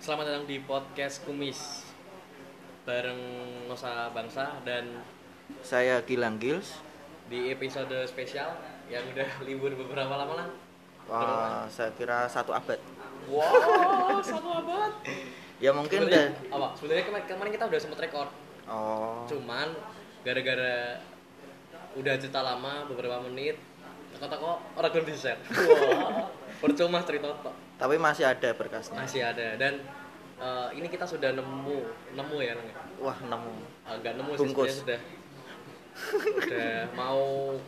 Selamat datang di podcast Kumis bareng Nusa Bangsa dan Saya Gilang Gils. di episode spesial yang udah libur beberapa lama lah. Wah, saya kira satu abad. Wow, satu abad. Ya mungkin udah. Sebenarnya- apa? Sebenarnya kema- kemarin kita udah sempet rekor, Oh. cuman gara-gara udah cerita lama beberapa menit, teko-teko orang belum di share. Wah, percuma cerita tok. Tapi masih ada berkasnya. masih ada dan eh, ini kita sudah nemu nemu ya Neng? Wah, nemu. Ah, nggak nemu sih Bungkus. sebenarnya sudah udah mau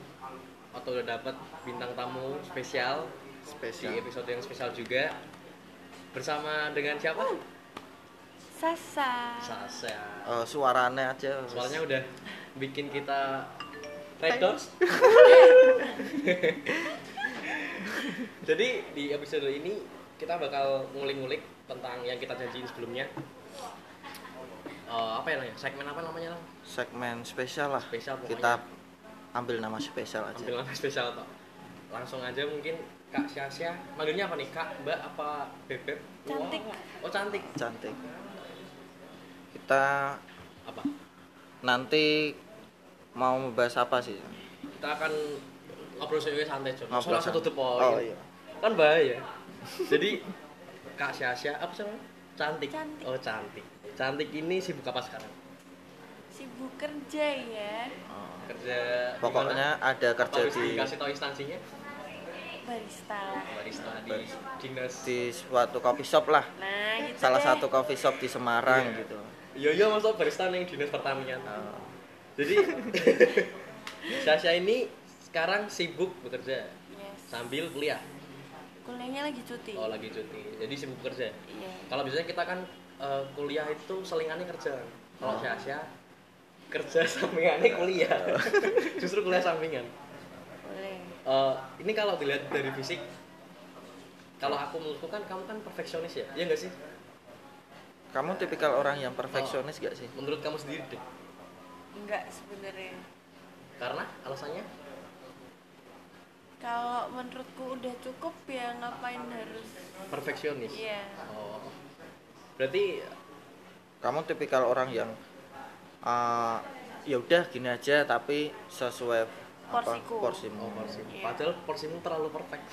atau udah dapat bintang tamu spesial di Spesial. episode yang spesial juga bersama dengan siapa Sasa. Sasa Eh, suaranya aja. suaranya udah bikin kita red doors. jadi di episode ini kita bakal ngulik-ngulik tentang yang kita janjiin sebelumnya Eh, apa ya namanya segmen apa namanya Lang? Segmen spesial lah. Spesial pokoknya. Kita ambil nama spesial aja. ambil nama spesial toh langsung aja mungkin kak Syasya manggilnya apa nih kak mbak apa bebek Cantik. oh cantik Cantik. Kita apa nanti mau membahas apa sih? kita akan ngobrol sendiri santai cuy Ngobrol ngobrol satu santai. the point Oh, iya. kan bahaya jadi kak Syasya apa sih namanya? cantik. Cantik. oh cantik cantik ini sibuk apa sekarang Sibuk kerja ya. Oh. kerja di Pokoknya ada mana? kerja Harus di dikasih tahu instansinya Barista lah. barista di Barista. dinas di suatu coffee shop lah. Nah, Eh, gitu Salah deh. satu coffee shop di Semarang Iya. gitu. iya iya masuk barista yang dinas pertanian Oh. Jadi Sasha ini sekarang sibuk bekerja Yes. sambil kuliah. Kuliahnya lagi cuti. Oh lagi cuti. Jadi sibuk kerja. Iya. Kalau biasanya kita kan eh, kuliah itu selingannya kerja. kan? Kalau Sasha kerja sampingannya kuliah. Justru kuliah sampingan. Boleh. Eh, ini kalau dilihat dari fisik kalau aku menurutku kan kamu kan perfeksionis ya, iya nggak sih? Kamu tipikal orang yang perfeksionis gak sih? Menurut kamu sendiri deh, Enggak sebenarnya. karena alasannya Kalau menurutku udah cukup ya ngapain harus perfeksionis. Iya. Oh, berarti Kamu tipikal orang yang eh, ya udah gini aja tapi sesuai Porsiku. porsimu. Oh, porsimu. Iya. Padahal porsimu terlalu perfect.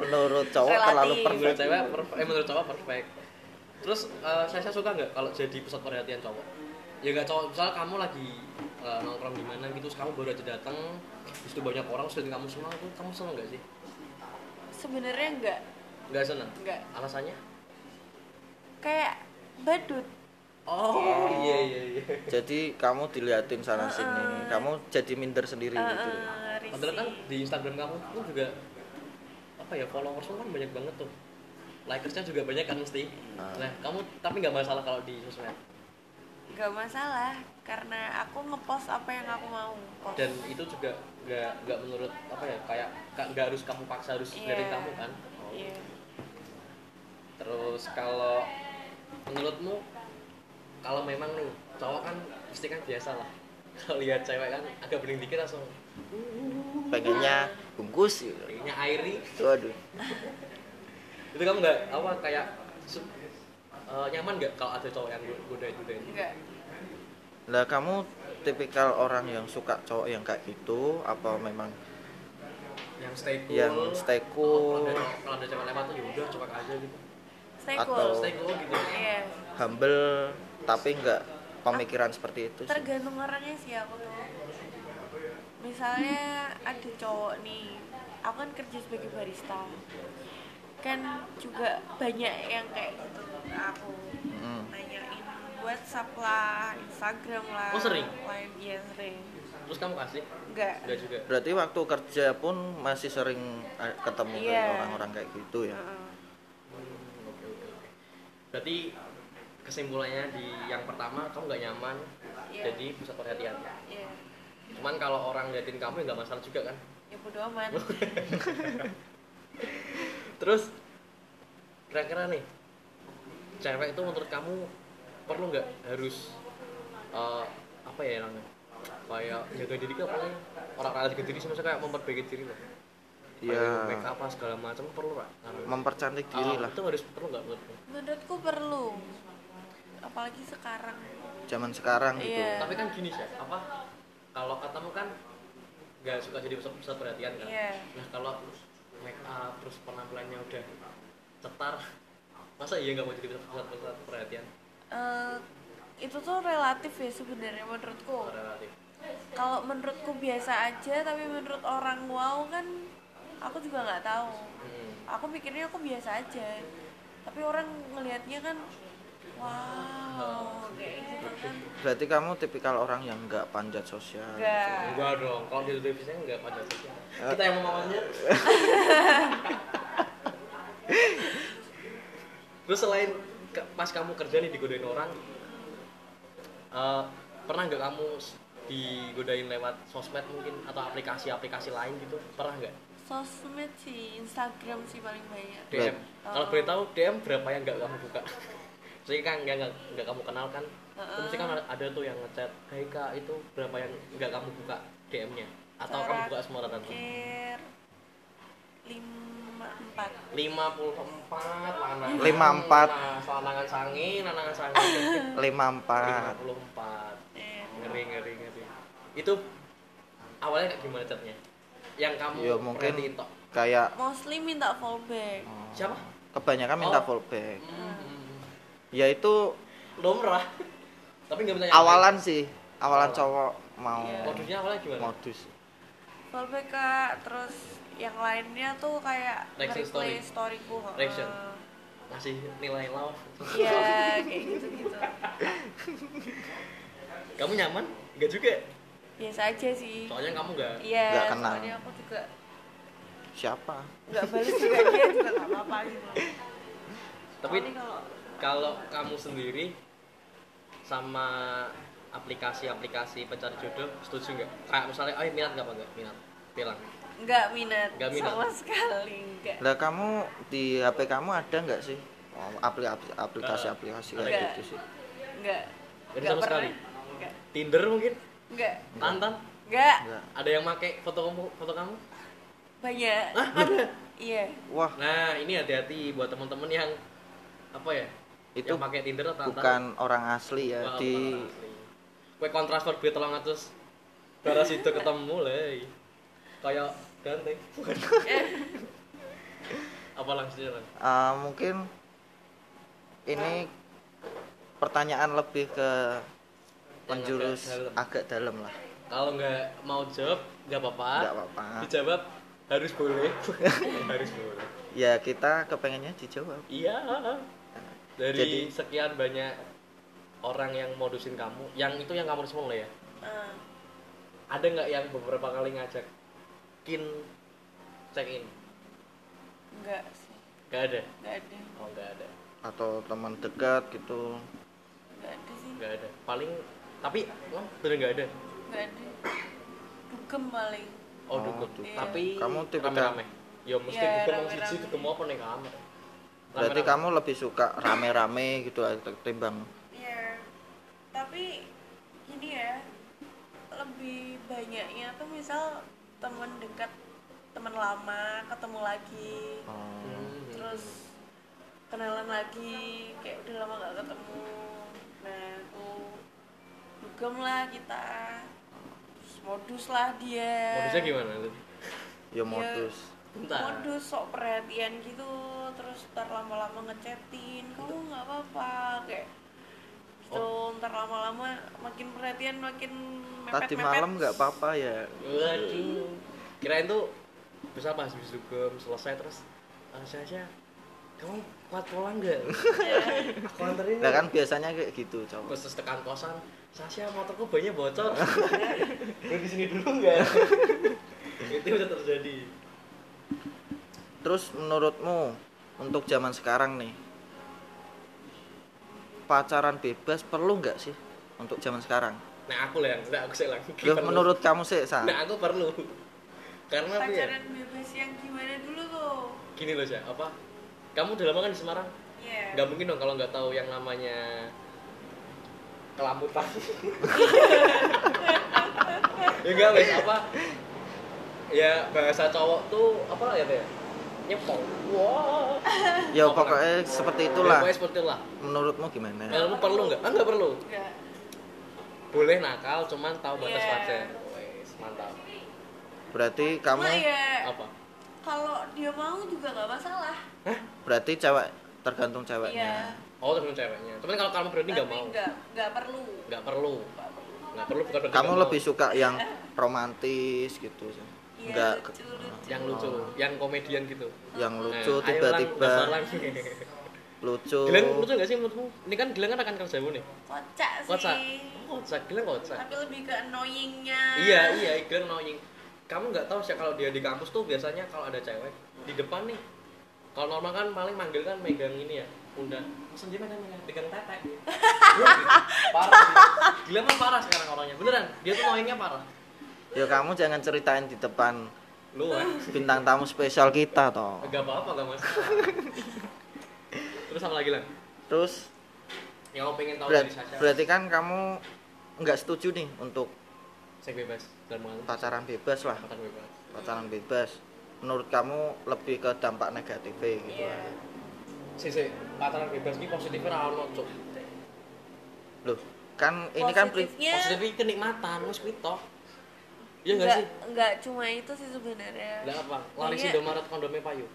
Menurut cowok Relatif. terlalu menurut perfect. cewek, perf- eh menurut cowok perfect. Terus eh, saya, saya suka nggak kalau jadi pusat perhatian cowok? Ya nggak cowok, misal kamu lagi eh, nongkrong di mana gitu, terus kamu baru aja datang, terus itu banyak orang, terus kamu semua, itu kamu seneng nggak sih? Sebenarnya enggak. Nggak seneng? Nggak. Alasannya? Kayak badut. Oh, iya iya iya. Jadi kamu diliatin sana Heeh. sini, kamu jadi minder sendiri Iya, Eh, gitu. eh, risih. Padahal kan ya. di Instagram kamu tuh juga apa ya followersmu kan banyak banget tuh. Likersnya juga banyak kan mesti. Ah. Nah, kamu tapi nggak masalah kalau di sosmed. Enggak masalah karena aku ngepost apa yang aku mau post. dan itu juga nggak nggak menurut apa ya kayak nggak nggak harus kamu paksa harus Iya. dari kamu kan Oh. Iya. terus kalau menurutmu kalau memang nih cowok kan pasti kan biasa lah kalau lihat cewek kan agak bening dikit langsung Pengennya bungkus gitu. kayaknya airi Waduh. itu kamu nggak apa kayak su- eh, nyaman nggak kalau ada cowok yang godain godain Enggak. Lah kamu tipikal orang yang suka cowok yang kayak gitu apa memang yang stay cool yang stay Oh, cool, kalau ada- kalau ada cewek lewat tuh yaudah coba aja gitu Stay Atau- cool. stay cool gitu Iya. humble tapi nggak pemikiran seperti itu sih. tergantung orangnya sih aku tuh misalnya ada cowok nih aku kan kerja sebagai barista kan juga banyak yang kayak gitu ke aku Mm. nanyain WhatsApp lah Instagram lah Oh, sering? lain iya sering terus kamu kasih enggak nggak juga Berarti waktu kerja pun masih sering eh, ketemu Iya. dengan orang-orang kayak gitu ya. Heeh. Hmm, Oke oke oke. Berarti kesimpulannya di yang pertama kamu nggak nyaman Iya. jadi pusat perhatian. Iya. Cuman kalau orang liatin kamu ya nggak masalah juga kan. ya bodo amat Terus kira-kira nih cewek itu menurut kamu perlu nggak harus eh, apa ya namanya kayak jaga diri apa sih orang-orang jaga diri sih, maksudnya kayak memperbaiki diri lah Ya. make up segala macam perlu nggak? mempercantik Ah, Oh. diri lah Itu harus perlu nggak menurutmu? menurutku perlu apalagi sekarang zaman sekarang gitu Iya. Tapi kan gini sih, apa kalau katamu kan nggak suka jadi pusat, pusat perhatian kan? Iya. Nah kalau make up terus penampilannya udah cetar, masa iya nggak mau jadi pusat, pusat, pusat perhatian? Eh, itu tuh relatif ya sebenarnya menurutku Relatif. kalau menurutku biasa aja tapi menurut orang wow kan aku juga nggak tahu Hmm. aku pikirnya aku biasa aja tapi orang ngelihatnya kan wow kayak gitu kan berarti kamu tipikal orang yang nggak panjat sosial enggak Enggak dong, kalau di televisinya nggak pada sosial. Kita yang mamanya. Terus selain ke- pas kamu kerja nih digodain orang, eh, pernah nggak kamu s- digodain lewat sosmed mungkin atau aplikasi-aplikasi lain gitu? Pernah nggak? sosmed sih Instagram sih paling banyak DM. Belum. Kalau boleh tahu DM berapa yang nggak kamu buka? Jadi kan nggak nggak nggak kamu kenal kan? Heeh. Terus kan ada- ada tuh yang ngechat, "Hai Kak, itu berapa yang nggak kamu buka DM-nya?" Atau kamu buka semua rata-rata? terakhir lima empat 54 lanangan 54. lanangan sangi lanangan sangi lima empat 54 eh, ngeri ngeri ngeri itu awalnya kayak gimana catnya yang kamu ya mungkin perhatiin tok kayak oh, mostly minta fallback siapa kebanyakan minta Ya, Oh. fallback hmm. yaitu lumrah tapi nggak bisa awalan sih awalan Awalan. cowok mau Iya. modusnya awalnya gimana modus fallback kak terus yang lainnya tuh kayak Reaction nge-replay storyku heeh. Reaction. ngasih nilai love iya kayak gitu gitu kamu nyaman nggak juga biasa aja sih soalnya kamu nggak iya Nggak kenal. soalnya aku juga siapa nggak balik juga dia juga nggak apa-apa gitu tapi Soalnya kalau kalau kamu sendiri sama aplikasi-aplikasi pencari jodoh setuju nggak kayak misalnya oh minat nggak apa nggak minat bilang nggak minat, Nggak minat. sama sekali nggak lah kamu di HP kamu ada nggak sih Oh, apli- apli- aplikasi-aplikasi Ada. kayak gitu sih nggak Jadi nggak sama pernah sekali? nggak Tinder mungkin nggak Tantan nggak Enggak. ada yang make foto kamu foto kamu banyak ah ada iya wah nah ini hati-hati buat teman-teman yang apa ya Itu yang pakai Tinder atau bukan Tantan orang asli ya Wah, di bukan asli. kue kontrasport duit tolong atus darah situ ketemu leh kayak ganteng apa langsung Lang? Eh, mungkin ini pertanyaan lebih ke menjurus agak dalam. agak dalam lah kalau nggak mau jawab nggak apa-apa nggak apa-apa Nah. dijawab harus boleh harus boleh ya kita kepengennya dijawab iya dari Jadi- sekian banyak orang yang modusin kamu yang itu yang kamu semua ya Ah, ada nggak yang beberapa kali ngajakin check in nggak sih nggak ada nggak ada oh nggak ada atau teman dekat gitu nggak ada sih nggak ada paling tapi oh, bener nggak ada nggak ada dugem paling oh, Oh, dukung dukung. tapi Kamu tipikal- rame-rame ya mesti Iya, dukung mau rame-rame. siji dukung apa nih kamu berarti kamu lebih suka rame-rame gitu ketimbang iya tapi gini ya lebih banyaknya tuh misal temen dekat temen lama ketemu lagi oh, Hmm. terus kenalan lagi kayak udah lama gak ketemu nah aku dugem lah kita terus modus lah dia modusnya gimana tadi? ya modus Bentar. modus sok perhatian gitu terus ntar lama-lama ngechatin Gitu. kamu nggak apa-apa kayak gitu Oh. ntar lama-lama makin perhatian makin mepet tadi malam nggak apa-apa ya Waduh. Kirain tuh bisa pas habis dugem selesai terus eh, Syasha, kamu kuat pulang nggak? Ya, Aku anterin. nah kan biasanya kayak gitu cowok Terus terus tekan kosan. Sasha motorku banyak bocor. Gue di sini dulu nggak? Itu udah terjadi. terus menurutmu untuk zaman sekarang nih pacaran bebas perlu nggak sih untuk zaman sekarang Nah aku lah yang nggak aku sih lah. Loh, Perlu. menurut kamu sih Sa? Nah aku perlu. Karena apa ya? pacaran bebas yang gimana dulu tuh Gini loh Syah, apa? Kamu udah lama kan di Semarang? ya Nggak mungkin dong kalau nggak tahu yang namanya kelambutan. ya nggak wes apa? ya bahasa cowok tuh apa ya Teh? nyepok wah ya Apa pokoknya seperti itulah pokoknya seperti itulah menurutmu gimana Menurutmu perlu nggak ah nggak perlu enggak boleh nakal cuman tahu batas Iya. wajar Wes, mantap berarti cuma kamu ya apa kalau dia mau juga nggak masalah berarti cewek tergantung iya ceweknya oh tergantung ceweknya cuman kalau kamu berani nggak tapi mau nggak nggak perlu nggak perlu Nggak perlu. nggak perlu bukan berarti kamu nggak mau. lebih suka yang romantis gitu sih. Iya, enggak lucu, lucu. yang lucu yang komedian gitu yang Oh. lucu Nah, ayo, Lang, daftar tiba-tiba lagi. lucu Gilang lucu nggak sih menurutmu ini kan Gilang kan akan kerja nih kocak sih kocak Oh, kocak Gilang kocak tapi lebih ke annoyingnya iya iya Gilang knowing kamu nggak tahu sih kalau dia di kampus tuh biasanya kalau ada cewek di depan nih kalau normal kan paling manggil kan megang ini ya pundak Mas Anji megang megang pegang tetek Wah, parah Gilang. Gilang mah parah sekarang orangnya beneran dia tuh knowingnya parah ya kamu jangan ceritain di depan lu ah bintang tamu spesial kita toh nggak apa-apa nggak masalah terus apa lagi lang terus yang kamu pengen tahu berat- dari Sasha berarti kan kamu nggak setuju nih untuk seks bebas dan mengalami pacaran bebas lah pacaran bebas pacaran bebas menurut kamu lebih ke dampak negatif gitu iya sih sih pacaran bebas ini positifnya rawan no cuk loh kan ini kan pri- Positifnya- positifnya kenikmatan wis kuwi toh iya nggak Iya. enggak sih enggak cuma itu sih sebenarnya Lah apa? Lari Iya. Indomaret kondomnya payu.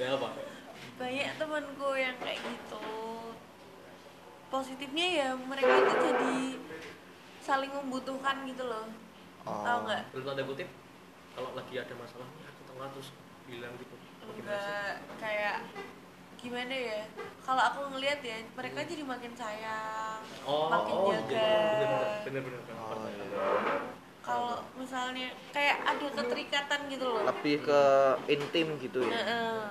Lah apa? banyak temanku yang kayak gitu positifnya ya mereka itu jadi saling membutuhkan gitu loh Oh. tau nggak Belum tanda kutip kalau lagi ada masalah "Ini aku tengah terus bilang gitu. Apa gimana sih? enggak kayak gimana ya kalau aku ngelihat ya mereka Hmm. jadi makin sayang Oh, makin oh, jaga bener bener bener. Oh, iya. kalau misalnya kayak ada keterikatan gitu loh lebih ke intim gitu Nah, ya eh,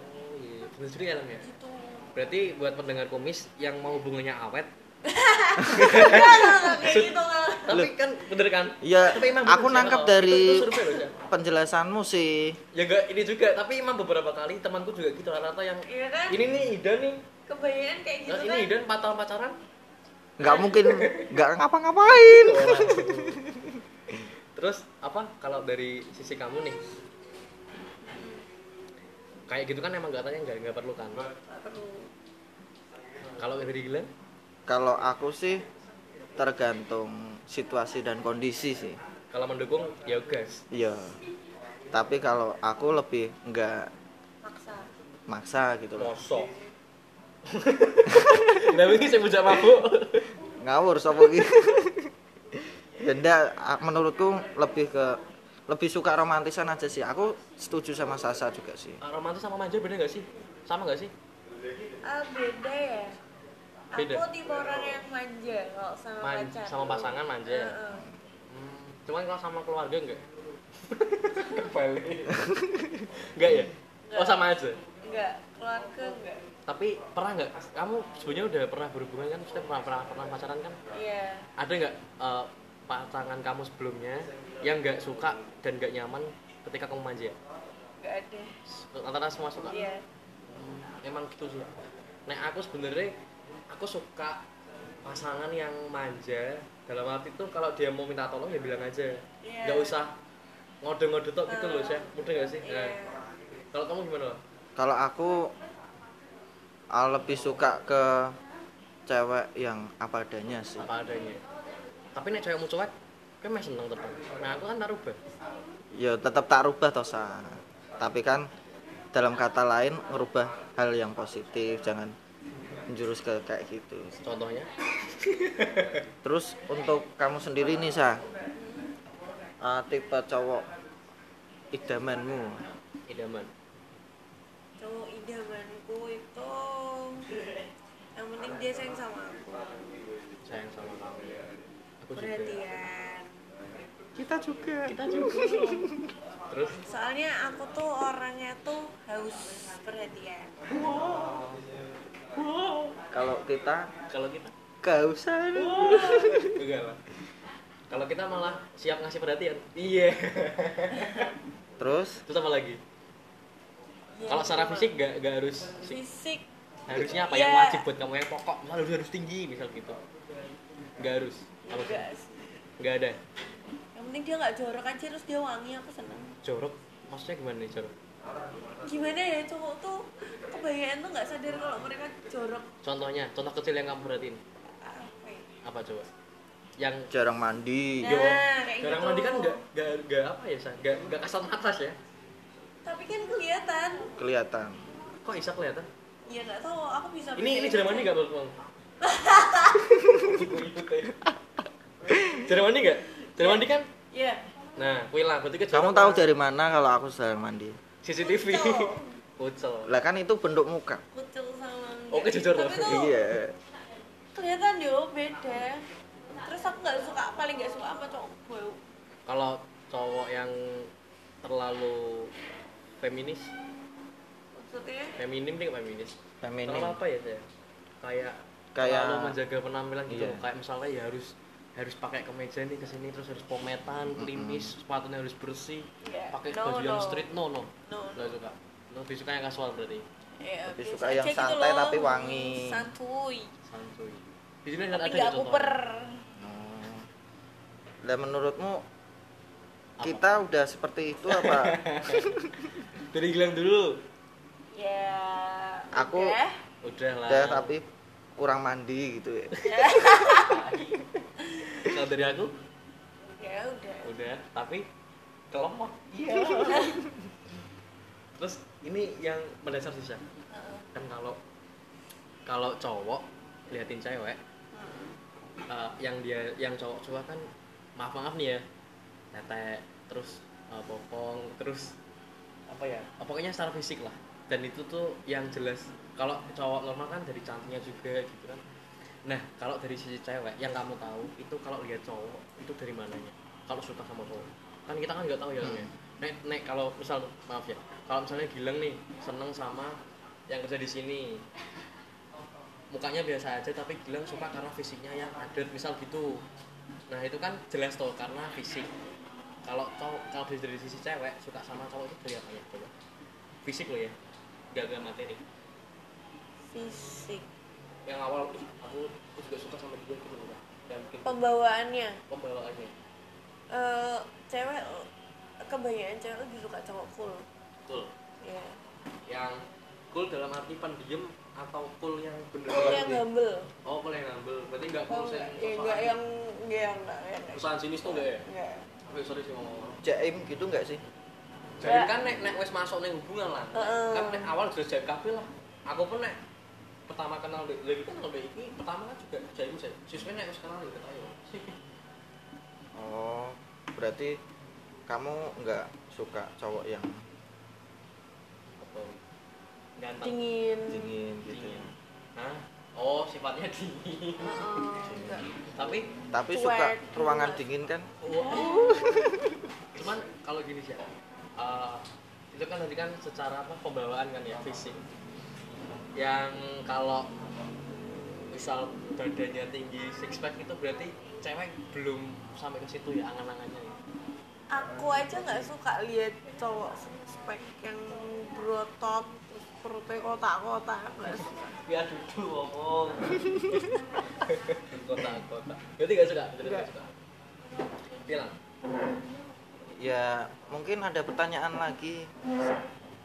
Oh, iya. Bener juga ya, Lam, ya. gitu Berarti buat pendengar komis yang mau hubungannya awet, kayak gitu nggak. tapi kan bener kan? Iya, Tapi emang bener aku sih, nangkap oh. dari- Itu- itu survei loh, Cak. penjelasanmu sih ya enggak ini juga, tapi emang beberapa kali temanku juga gitu rata-rata yang Iya kan ini nih Ida nih, kebanyakan kayak Nah, gitu ini kan Ida 4 tahun pacaran, nggak mungkin nggak ngapa-ngapain Terus apa kalau dari sisi kamu nih? Kayak gitu kan emang katanya nggak nggak perlu kan? Nggak perlu Kalau dari Gilang, kalau aku sih tergantung situasi dan kondisi sih kalau mendukung ya gas. iya tapi kalau aku lebih nggak maksa maksa gitu loh Mosok. Tapi ini saya bujak mabuk. ngawur sopo ki ya ndak, a- menurutku lebih ke lebih suka romantisan aja sih aku setuju sama Sasa juga sih Ah, Romantis sama manja beda nggak sih? Sama nggak sih? ah beda ya Beda. aku tipe orang yang manja kalau sama Man- pacar sama pasangan iya. manja. Heeh. Hmm, Cuman kalau sama keluarga enggak? Kembali. Enggak ya? Oh Nggak. sama aja. enggak keluarga enggak Tapi pernah nggak? Kamu sebenarnya udah pernah berhubungan kan? Maksudnya pernah pernah, pernah pacaran kan? iya ada nggak eh, pasangan kamu sebelumnya yang nggak suka dan nggak nyaman ketika kamu manja enggak ada antara semua suka iya emang gitu sih nah aku sebenarnya aku suka pasangan yang manja dalam arti tuh kalau dia mau minta tolong ya bilang aja Iya. nggak usah ngode-ngode tok gitu loh sih mudah nggak sih iya Nah, kalau kamu gimana kalau aku ah, lebih suka ke cewek yang apa adanya sih apa adanya tapi nek cewekmu cuek kan masih seneng tetep nah aku kan tarubah ya tetap tak rubah toh Sa. tapi kan dalam kata lain merubah hal yang positif jangan menjurus ke kayak gitu contohnya terus untuk kamu sendiri nih sa Ah, tipe cowok idamanmu idaman cowok idamanku itu yang penting dia sayang sama aku sayang sama kamu aku juga perhatian kita juga kita juga terus soalnya aku tuh orangnya tuh haus perhatian kalau kita kalau kita kausan enggak lah kalau kita malah siap ngasih perhatian iya terus terus apa lagi Ya, kalau secara cuma fisik nggak nggak harus fisik. fisik harusnya apa Iya. yang Ya, wajib buat kamu yang pokok misal harus harus tinggi misal gitu nggak harus apa sih enggak sih nggak ada yang penting dia nggak jorok aja terus dia wangi aku seneng jorok maksudnya gimana nih jorok gimana ya cowok tuh kebanyakan tuh nggak sadar kalau mereka jorok contohnya contoh kecil yang kamu perhatiin apa ya? apa coba yang jarang mandi Nah, Yo, kayak jarang gitu. mandi kan nggak nggak nggak apa ya sa nggak nggak kasat mata sih ya tapi kan kelihatan kelihatan kok bisa kelihatan ya nggak tahu aku bisa ini ini bedain jarang aja. mandi nggak menurut kamu Ikut-ikut ya. jarang mandi nggak jarang mandi kan ya nah kuilah berarti kan kamu jorok tahu kan? dari mana kalau aku jarang mandi CCTV Kucel. kucel lah kan itu bentuk muka kucil sama Oke, jujur loh. tapi tuh Oh, iya kelihatan yo beda terus aku nggak suka paling nggak suka sama cowok bau kalau cowok yang terlalu feminis maksudnya feminim nih feminis feminim terlalu apa ya saya kayak Kayak- terlalu menjaga penampilan gitu Iya. loh. kayak misalnya ya harus harus pakai kemeja nih ke sini terus harus pometan klimis sepatunya harus bersih Iya. pakai No, baju yang no. street no no no no nggak suka lebih suka yang kasual berarti ya, Lebih biasa suka aja yang gitu santai loh. tapi wangi. santuy santuy di sini kan tapi ada nggak nggak kuper contohnya? Hmm. lah menurutmu Apa? kita udah seperti itu apa dari Gilang dulu ya Aku- udah. udah lah udah tapi kurang mandi gitu ya kalau dari aku ya udah udah tapi kelemah iya terus ini yang mendasar sih Syah. Heeh. kan kalau kalau cowok liatin cewek Heeh. eh, yang dia yang cowok cowok kan maaf maaf nih ya tetek terus eh, bokong terus apa ya eh, pokoknya secara fisik lah dan itu tuh yang jelas kalau cowok normal kan dari cantiknya juga gitu kan nah kalau dari sisi cewek yang kamu tahu itu kalau lihat cowok itu dari mananya kalau suka sama cowok kan kita kan nggak tahu ya Lam, ya. nek nek kalau misal maaf ya kalau misalnya Gilang nih seneng sama yang kerja di sini mukanya biasa aja tapi Gilang suka karena fisiknya yang adat misal gitu nah itu kan jelas tuh karena fisik kalau cowok kalau dari, dari sisi cewek suka sama cowok itu dari apanya coba fisik lo ya gak gak materi fisik yang awal "Ih, aku aku juga suka sama dia gitu loh yang bikin Oh. pembawaannya pembawaannya eh cewek kebanyakan cewek lebih suka cowok cool cool ya yang cool dalam arti pendiam atau cool yang bener cool yang humble oh cool yang humble berarti gak Tau konsen nggak? ya nggak yang nggak yang nggak yang nggak- perusahaan sinis tuh gak ya nggak Oke, sorry sih ngomong jaim gitu nggak sih Jadi Nggak. kan nek nek wis masuk ning hubungan lah. Heeh. Kan nek awal jelas jadi kabeh lah. Aku pun nek pertama kenal Dek, lagi kan kalau Dek iki pertama kan juga jadi sih. Siswa nek wis kenal ya ketayo. oh berarti kamu nggak suka cowok yang Ganteng. dingin dingin gitu Dingin. Hah? Oh, sifatnya dingin. Heeh, nggak. Tapi tapi Cuek. suka ruangan dingin kan Wow. Cuman kalau gini sih, eh, itu kan tadi kan secara apa pembawaan kan ya fisik. Yang kalau misal badannya tinggi six pack itu berarti cewek belum sampai ke situ ya angan-angannya ya. aku aja nggak suka lihat cowok spek yang berotot terus perutnya kotak-kotak aku nggak suka Biar duduk ngomong. Kota-kota. Berarti gak suka? Berarti gak Nggak. suka. Bilang, ya mungkin ada pertanyaan lagi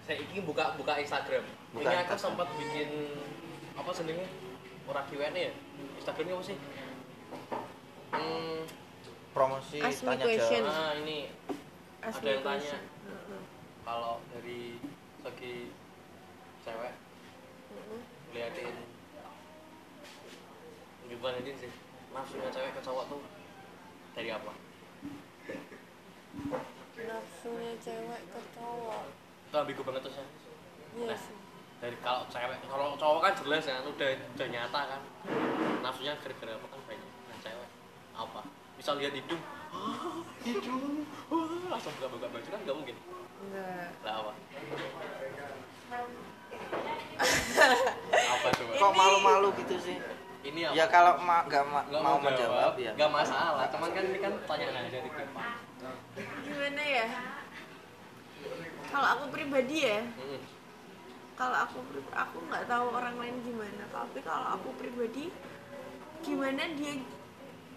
saya ini buka buka Instagram. Buka ini aku Instagram. sempat bikin apa sendiri orang Q&A ya. Instagramnya apa sih? Hmm, promosi Ask me tanya question. jawab ah ini Ask Ada yang me tanya. question. Heeh, kalau dari segi cewek heeh. liatin gimana aja sih nafsunya cewek ke cowok tuh dari apa? nafsunya cewek ke cowok Itu ambigu banget tuh Shay. iya Nah. sih Dari kalau cewek kalau cowok kan jelas ya udah udah nyata kan nafsunya gara-gara apa kan banyak. Nah cewek apa? Misal lihat hidung, "Ah, hidung, wah," langsung buka-buka baju kan nggak mungkin. nggak Lah apa? apa coba? kok malu-malu gitu sih Ini apa? ya kalau ma- nggak ma- Nggak mau menjawab ya nggak masalah. Cuman kan ini kan pertanyaan aja di gimana ya kalau aku pribadi ya kalau aku pri- aku nggak tahu orang lain gimana tapi kalau aku pribadi gimana dia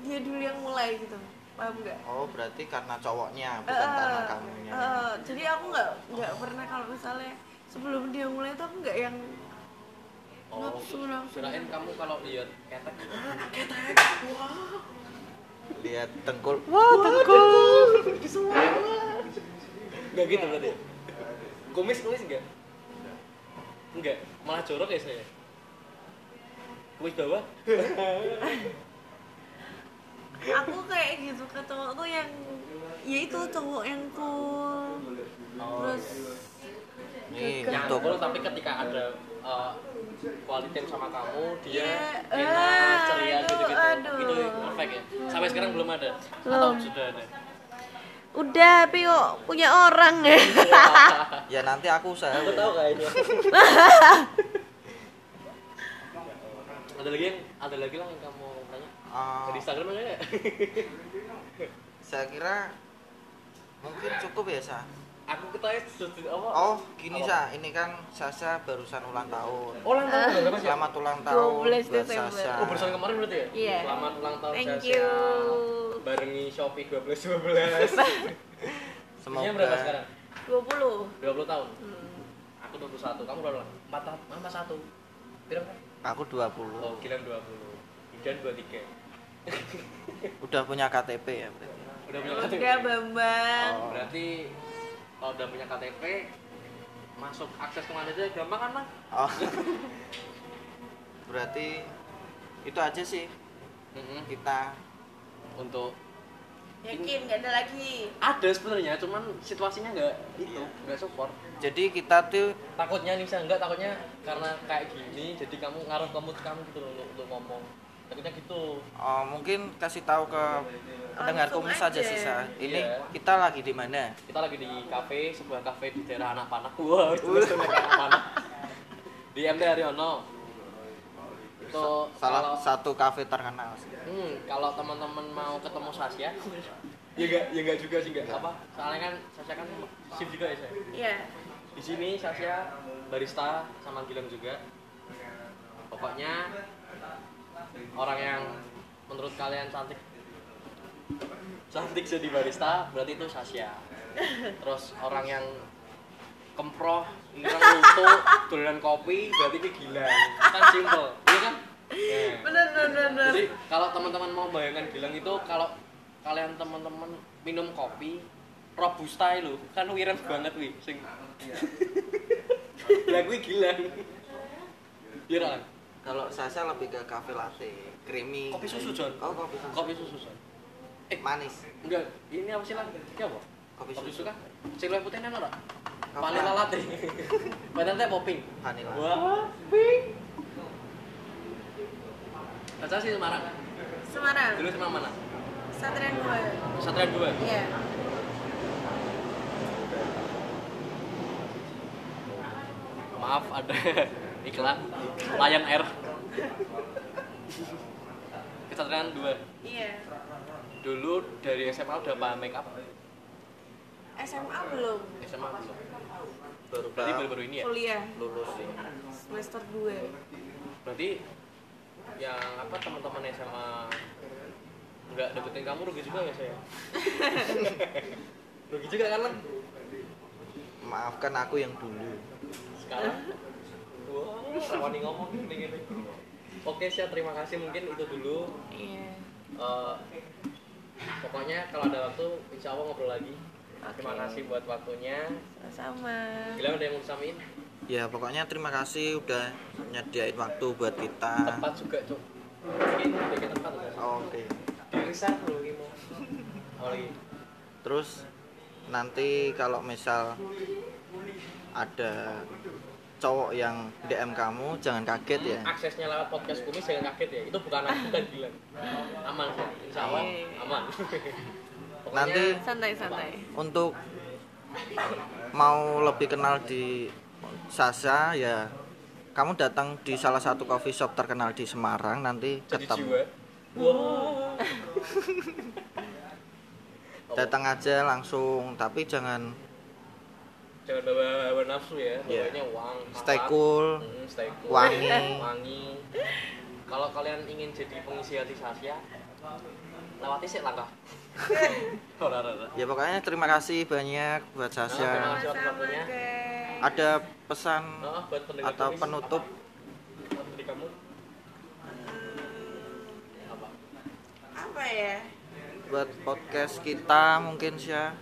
dia dulu yang mulai gitu paham nggak Oh, berarti karena cowoknya, bukan karena Eh, kamunya. eh, jadi aku nggak nggak pernah kalau misalnya sebelum dia mulai tuh aku nggak yang Oh, Nafsu, nafsu. kirain kamu kalau lihat ketek Lihat tengkul. wah tengkul Enggak gitu berarti. Kumis kumis enggak? Enggak, malah jorok ya saya. Kumis bawah? aku kayak gitu ke cowok tuh yang ya itu cowok yang cool terus Nih, Yang untuk cool, tapi ketika ada uh, quality time sama kamu, dia Iya, enak, ah, ceria aduh, gitu-gitu. aduh. Itu perfect ya. Sampai sekarang belum ada. Atau Belum. sudah ada. udah tapi kok punya orang ya Iya, ya nanti aku usaha. Aku tahu kayaknya. ada lagi yang ada lagi lah yang kamu tanya. Eh, Di Instagram ada Ah. nggak? saya kira mungkin cukup ya, Sa. Aku ketanya sudah apa? Oh, gini, Apa? Sa. Ini kan Sasa barusan ulang tahun. Oh, ulang Ah. tahun berapa sih? Selamat ulang tahun 12 buat Desember. Sasa. Oh, barusan kemarin berarti ya? Iya. Selamat ulang tahun thank Sasha. you Barengi Shopee 12 12. Semoga Semoga berapa sekarang? 20 20 tahun. hmm. Aku 21. Kamu berapa? 4 tahun. Mama 1. Berapa? aku 20. Oh, Gilang 20. Gilang 23. Udah punya KTP ya, berarti. Udah punya ya? KTP. udah bambang Oh. Berarti kalau udah punya KTP masuk akses kemana aja gampang kan Bang? Oh. berarti itu aja sih kita Untuk Oh. yakin nggak ada lagi ada sebenarnya, cuman situasinya nggak itu, nggak support. jadi kita tuh takutnya nih misalnya enggak takutnya karena kayak gini jadi kamu ngaruh ke mood kamu gitu loh untuk, untuk ngomong takutnya gitu eh, mungkin kasih tahu ke pendengar Langsung komis aja aja. sih Sa. ini Iya. kita lagi di mana kita lagi di kafe sebuah kafe di daerah anak panah wah itu betul anak panah di MT Haryono itu salah kalau satu kafe terkenal sih. hmm, kalau teman-teman mau ketemu Sasya ya enggak ya enggak juga sih enggak apa soalnya kan Sasya kan shift juga ya saya ya di sini Sasya barista sama Gilang juga pokoknya orang yang menurut kalian cantik cantik jadi barista berarti itu Sasya terus orang yang kemproh ngerang luto dolanan kopi berarti itu Gilang kan simple iya kan Nah. bener bener bener Jadi kalau teman-teman mau bayangkan Gilang itu kalau kalian teman-teman minum kopi robusta itu kan wireng banget wi sing. Iya. Lah kuwi Gilang. Iya kan? kalau Sasa lebih ke kafe latte creamy Kopi susu, John. oh kopi susu Kopi susu. Son. Eh, manis enggak, ini apa sih lah? Ini apa? kopi, Kopi susu susu kan? Sing luwih putih nang ora? Apa? Vanilla latte. Padahal teh popping. vanilla Wah, pink. Kaca sih Semarang. Semarang Dulu Semarang mana? Satria dua Satria 2. ya Maaf ada iklan Lion Air. Kesatuan dua. iya Dulu dari SMA udah paham make up, SMA belum SMA belum. baru Berarti baru-baru ini ya. kuliah lulus semester 2 Berarti yang apa teman-teman SMA nggak dapetin kamu rugi juga ya saya. rugi juga kan Len? maafkan aku yang dulu sekarang. Wah, rawani ngomong gini gini. Oke, saya terima kasih mungkin itu dulu iya Eh, pokoknya kalau ada waktu insya Allah ngobrol lagi Oke. terima kasih buat waktunya sama Gilang ada yang mau disamain ya pokoknya terima kasih udah nyediain waktu buat kita tempat juga cok mungkin bikin tempat udah oke di reserve dulu Imo oh lagi Terus nanti kalau misal ada cowok yang DM kamu jangan kaget ya. aksesnya lewat podcast kumis jangan kaget ya itu bukan aku bukan Gilang aman kok insya Allah Oke. Iya. aman Pokoknya, Nanti- santai santai Untuk mau lebih kenal di Sasa ya kamu datang di salah satu coffee shop terkenal di Semarang nanti jadi ketemu. jiwa wow Oh. Datang aja langsung tapi jangan jangan bawa, bawa nafsu ya Iya. pokoknya uang stay makan. cool, Mm, stay cool. Wangi. wangi kalau kalian ingin jadi pengisi hati Sasya lewati sih langkah Ora, ora, ora. ya pokoknya terima kasih banyak buat Sasha Terima kasih sama-sama waktunya. geng ada pesan Nah, buat pendengar atau komisi, penutup apa? Apa dari kamu? Hmm, Apa? apa ya buat podcast kita mungkin Sya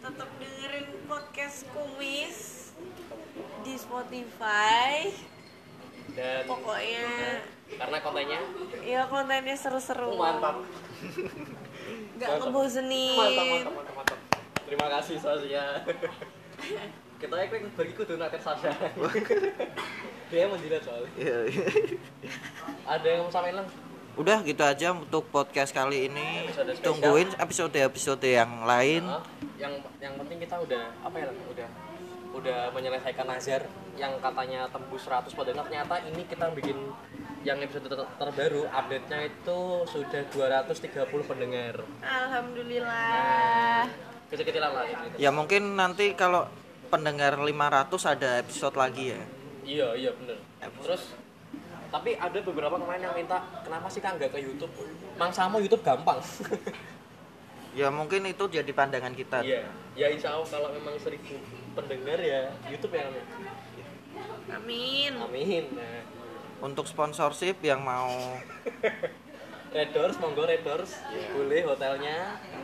tetap dengerin podcast kumis di Spotify Dan pokoknya karena kontennya oh, ya kontennya seru-seru mantap. nggak Mantap. Mantap, ngebosenin mantap, mantap, mantap. Terima kasih Sasha. Kita ya klik bagi kudu nakir Sasha. Dia menjilat soalnya. Ada yang mau samain lang? udah gitu aja untuk podcast kali ini Episode spesial. tungguin episode-episode yang lain Hah? yang yang penting kita udah apa ya Lang? udah udah menyelesaikan nazar yang katanya tembus 100 padahal ternyata ini kita bikin yang episode ter- terbaru update-nya itu sudah 230 pendengar alhamdulillah Nah. kecil-kecilan lah ya mungkin nanti kalau pendengar 500 ada episode lagi ya iya iya bener terus tapi ada beberapa kemarin yang minta kenapa sih kang nggak ke YouTube mang Samo YouTube gampang ya mungkin itu jadi pandangan kita iya ya insya Allah kalau memang seribu pendengar ya YouTube ya amin amin amin nah. untuk sponsorship yang mau Red Doors, monggo Red Doors. Boleh hotelnya. Iya.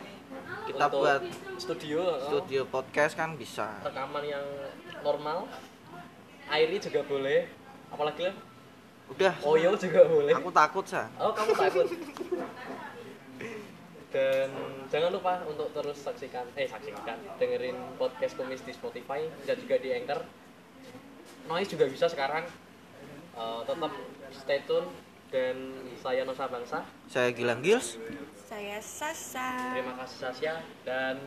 Kita Untuk buat studio, studio. studio podcast kan bisa rekaman yang normal. Airi juga boleh. Apalagi Lem? Oh, udah Oyo juga boleh. aku takut sa Oh, kamu takut. Dan jangan lupa untuk terus saksikan eh saksikan dengerin podcast Kumis di Spotify dan juga di Anchor. Noise juga bisa sekarang. Eh, tetap stay tune dan saya Nusa Bangsa. saya Gilang Gils saya Sasa Terima kasih Sasya dan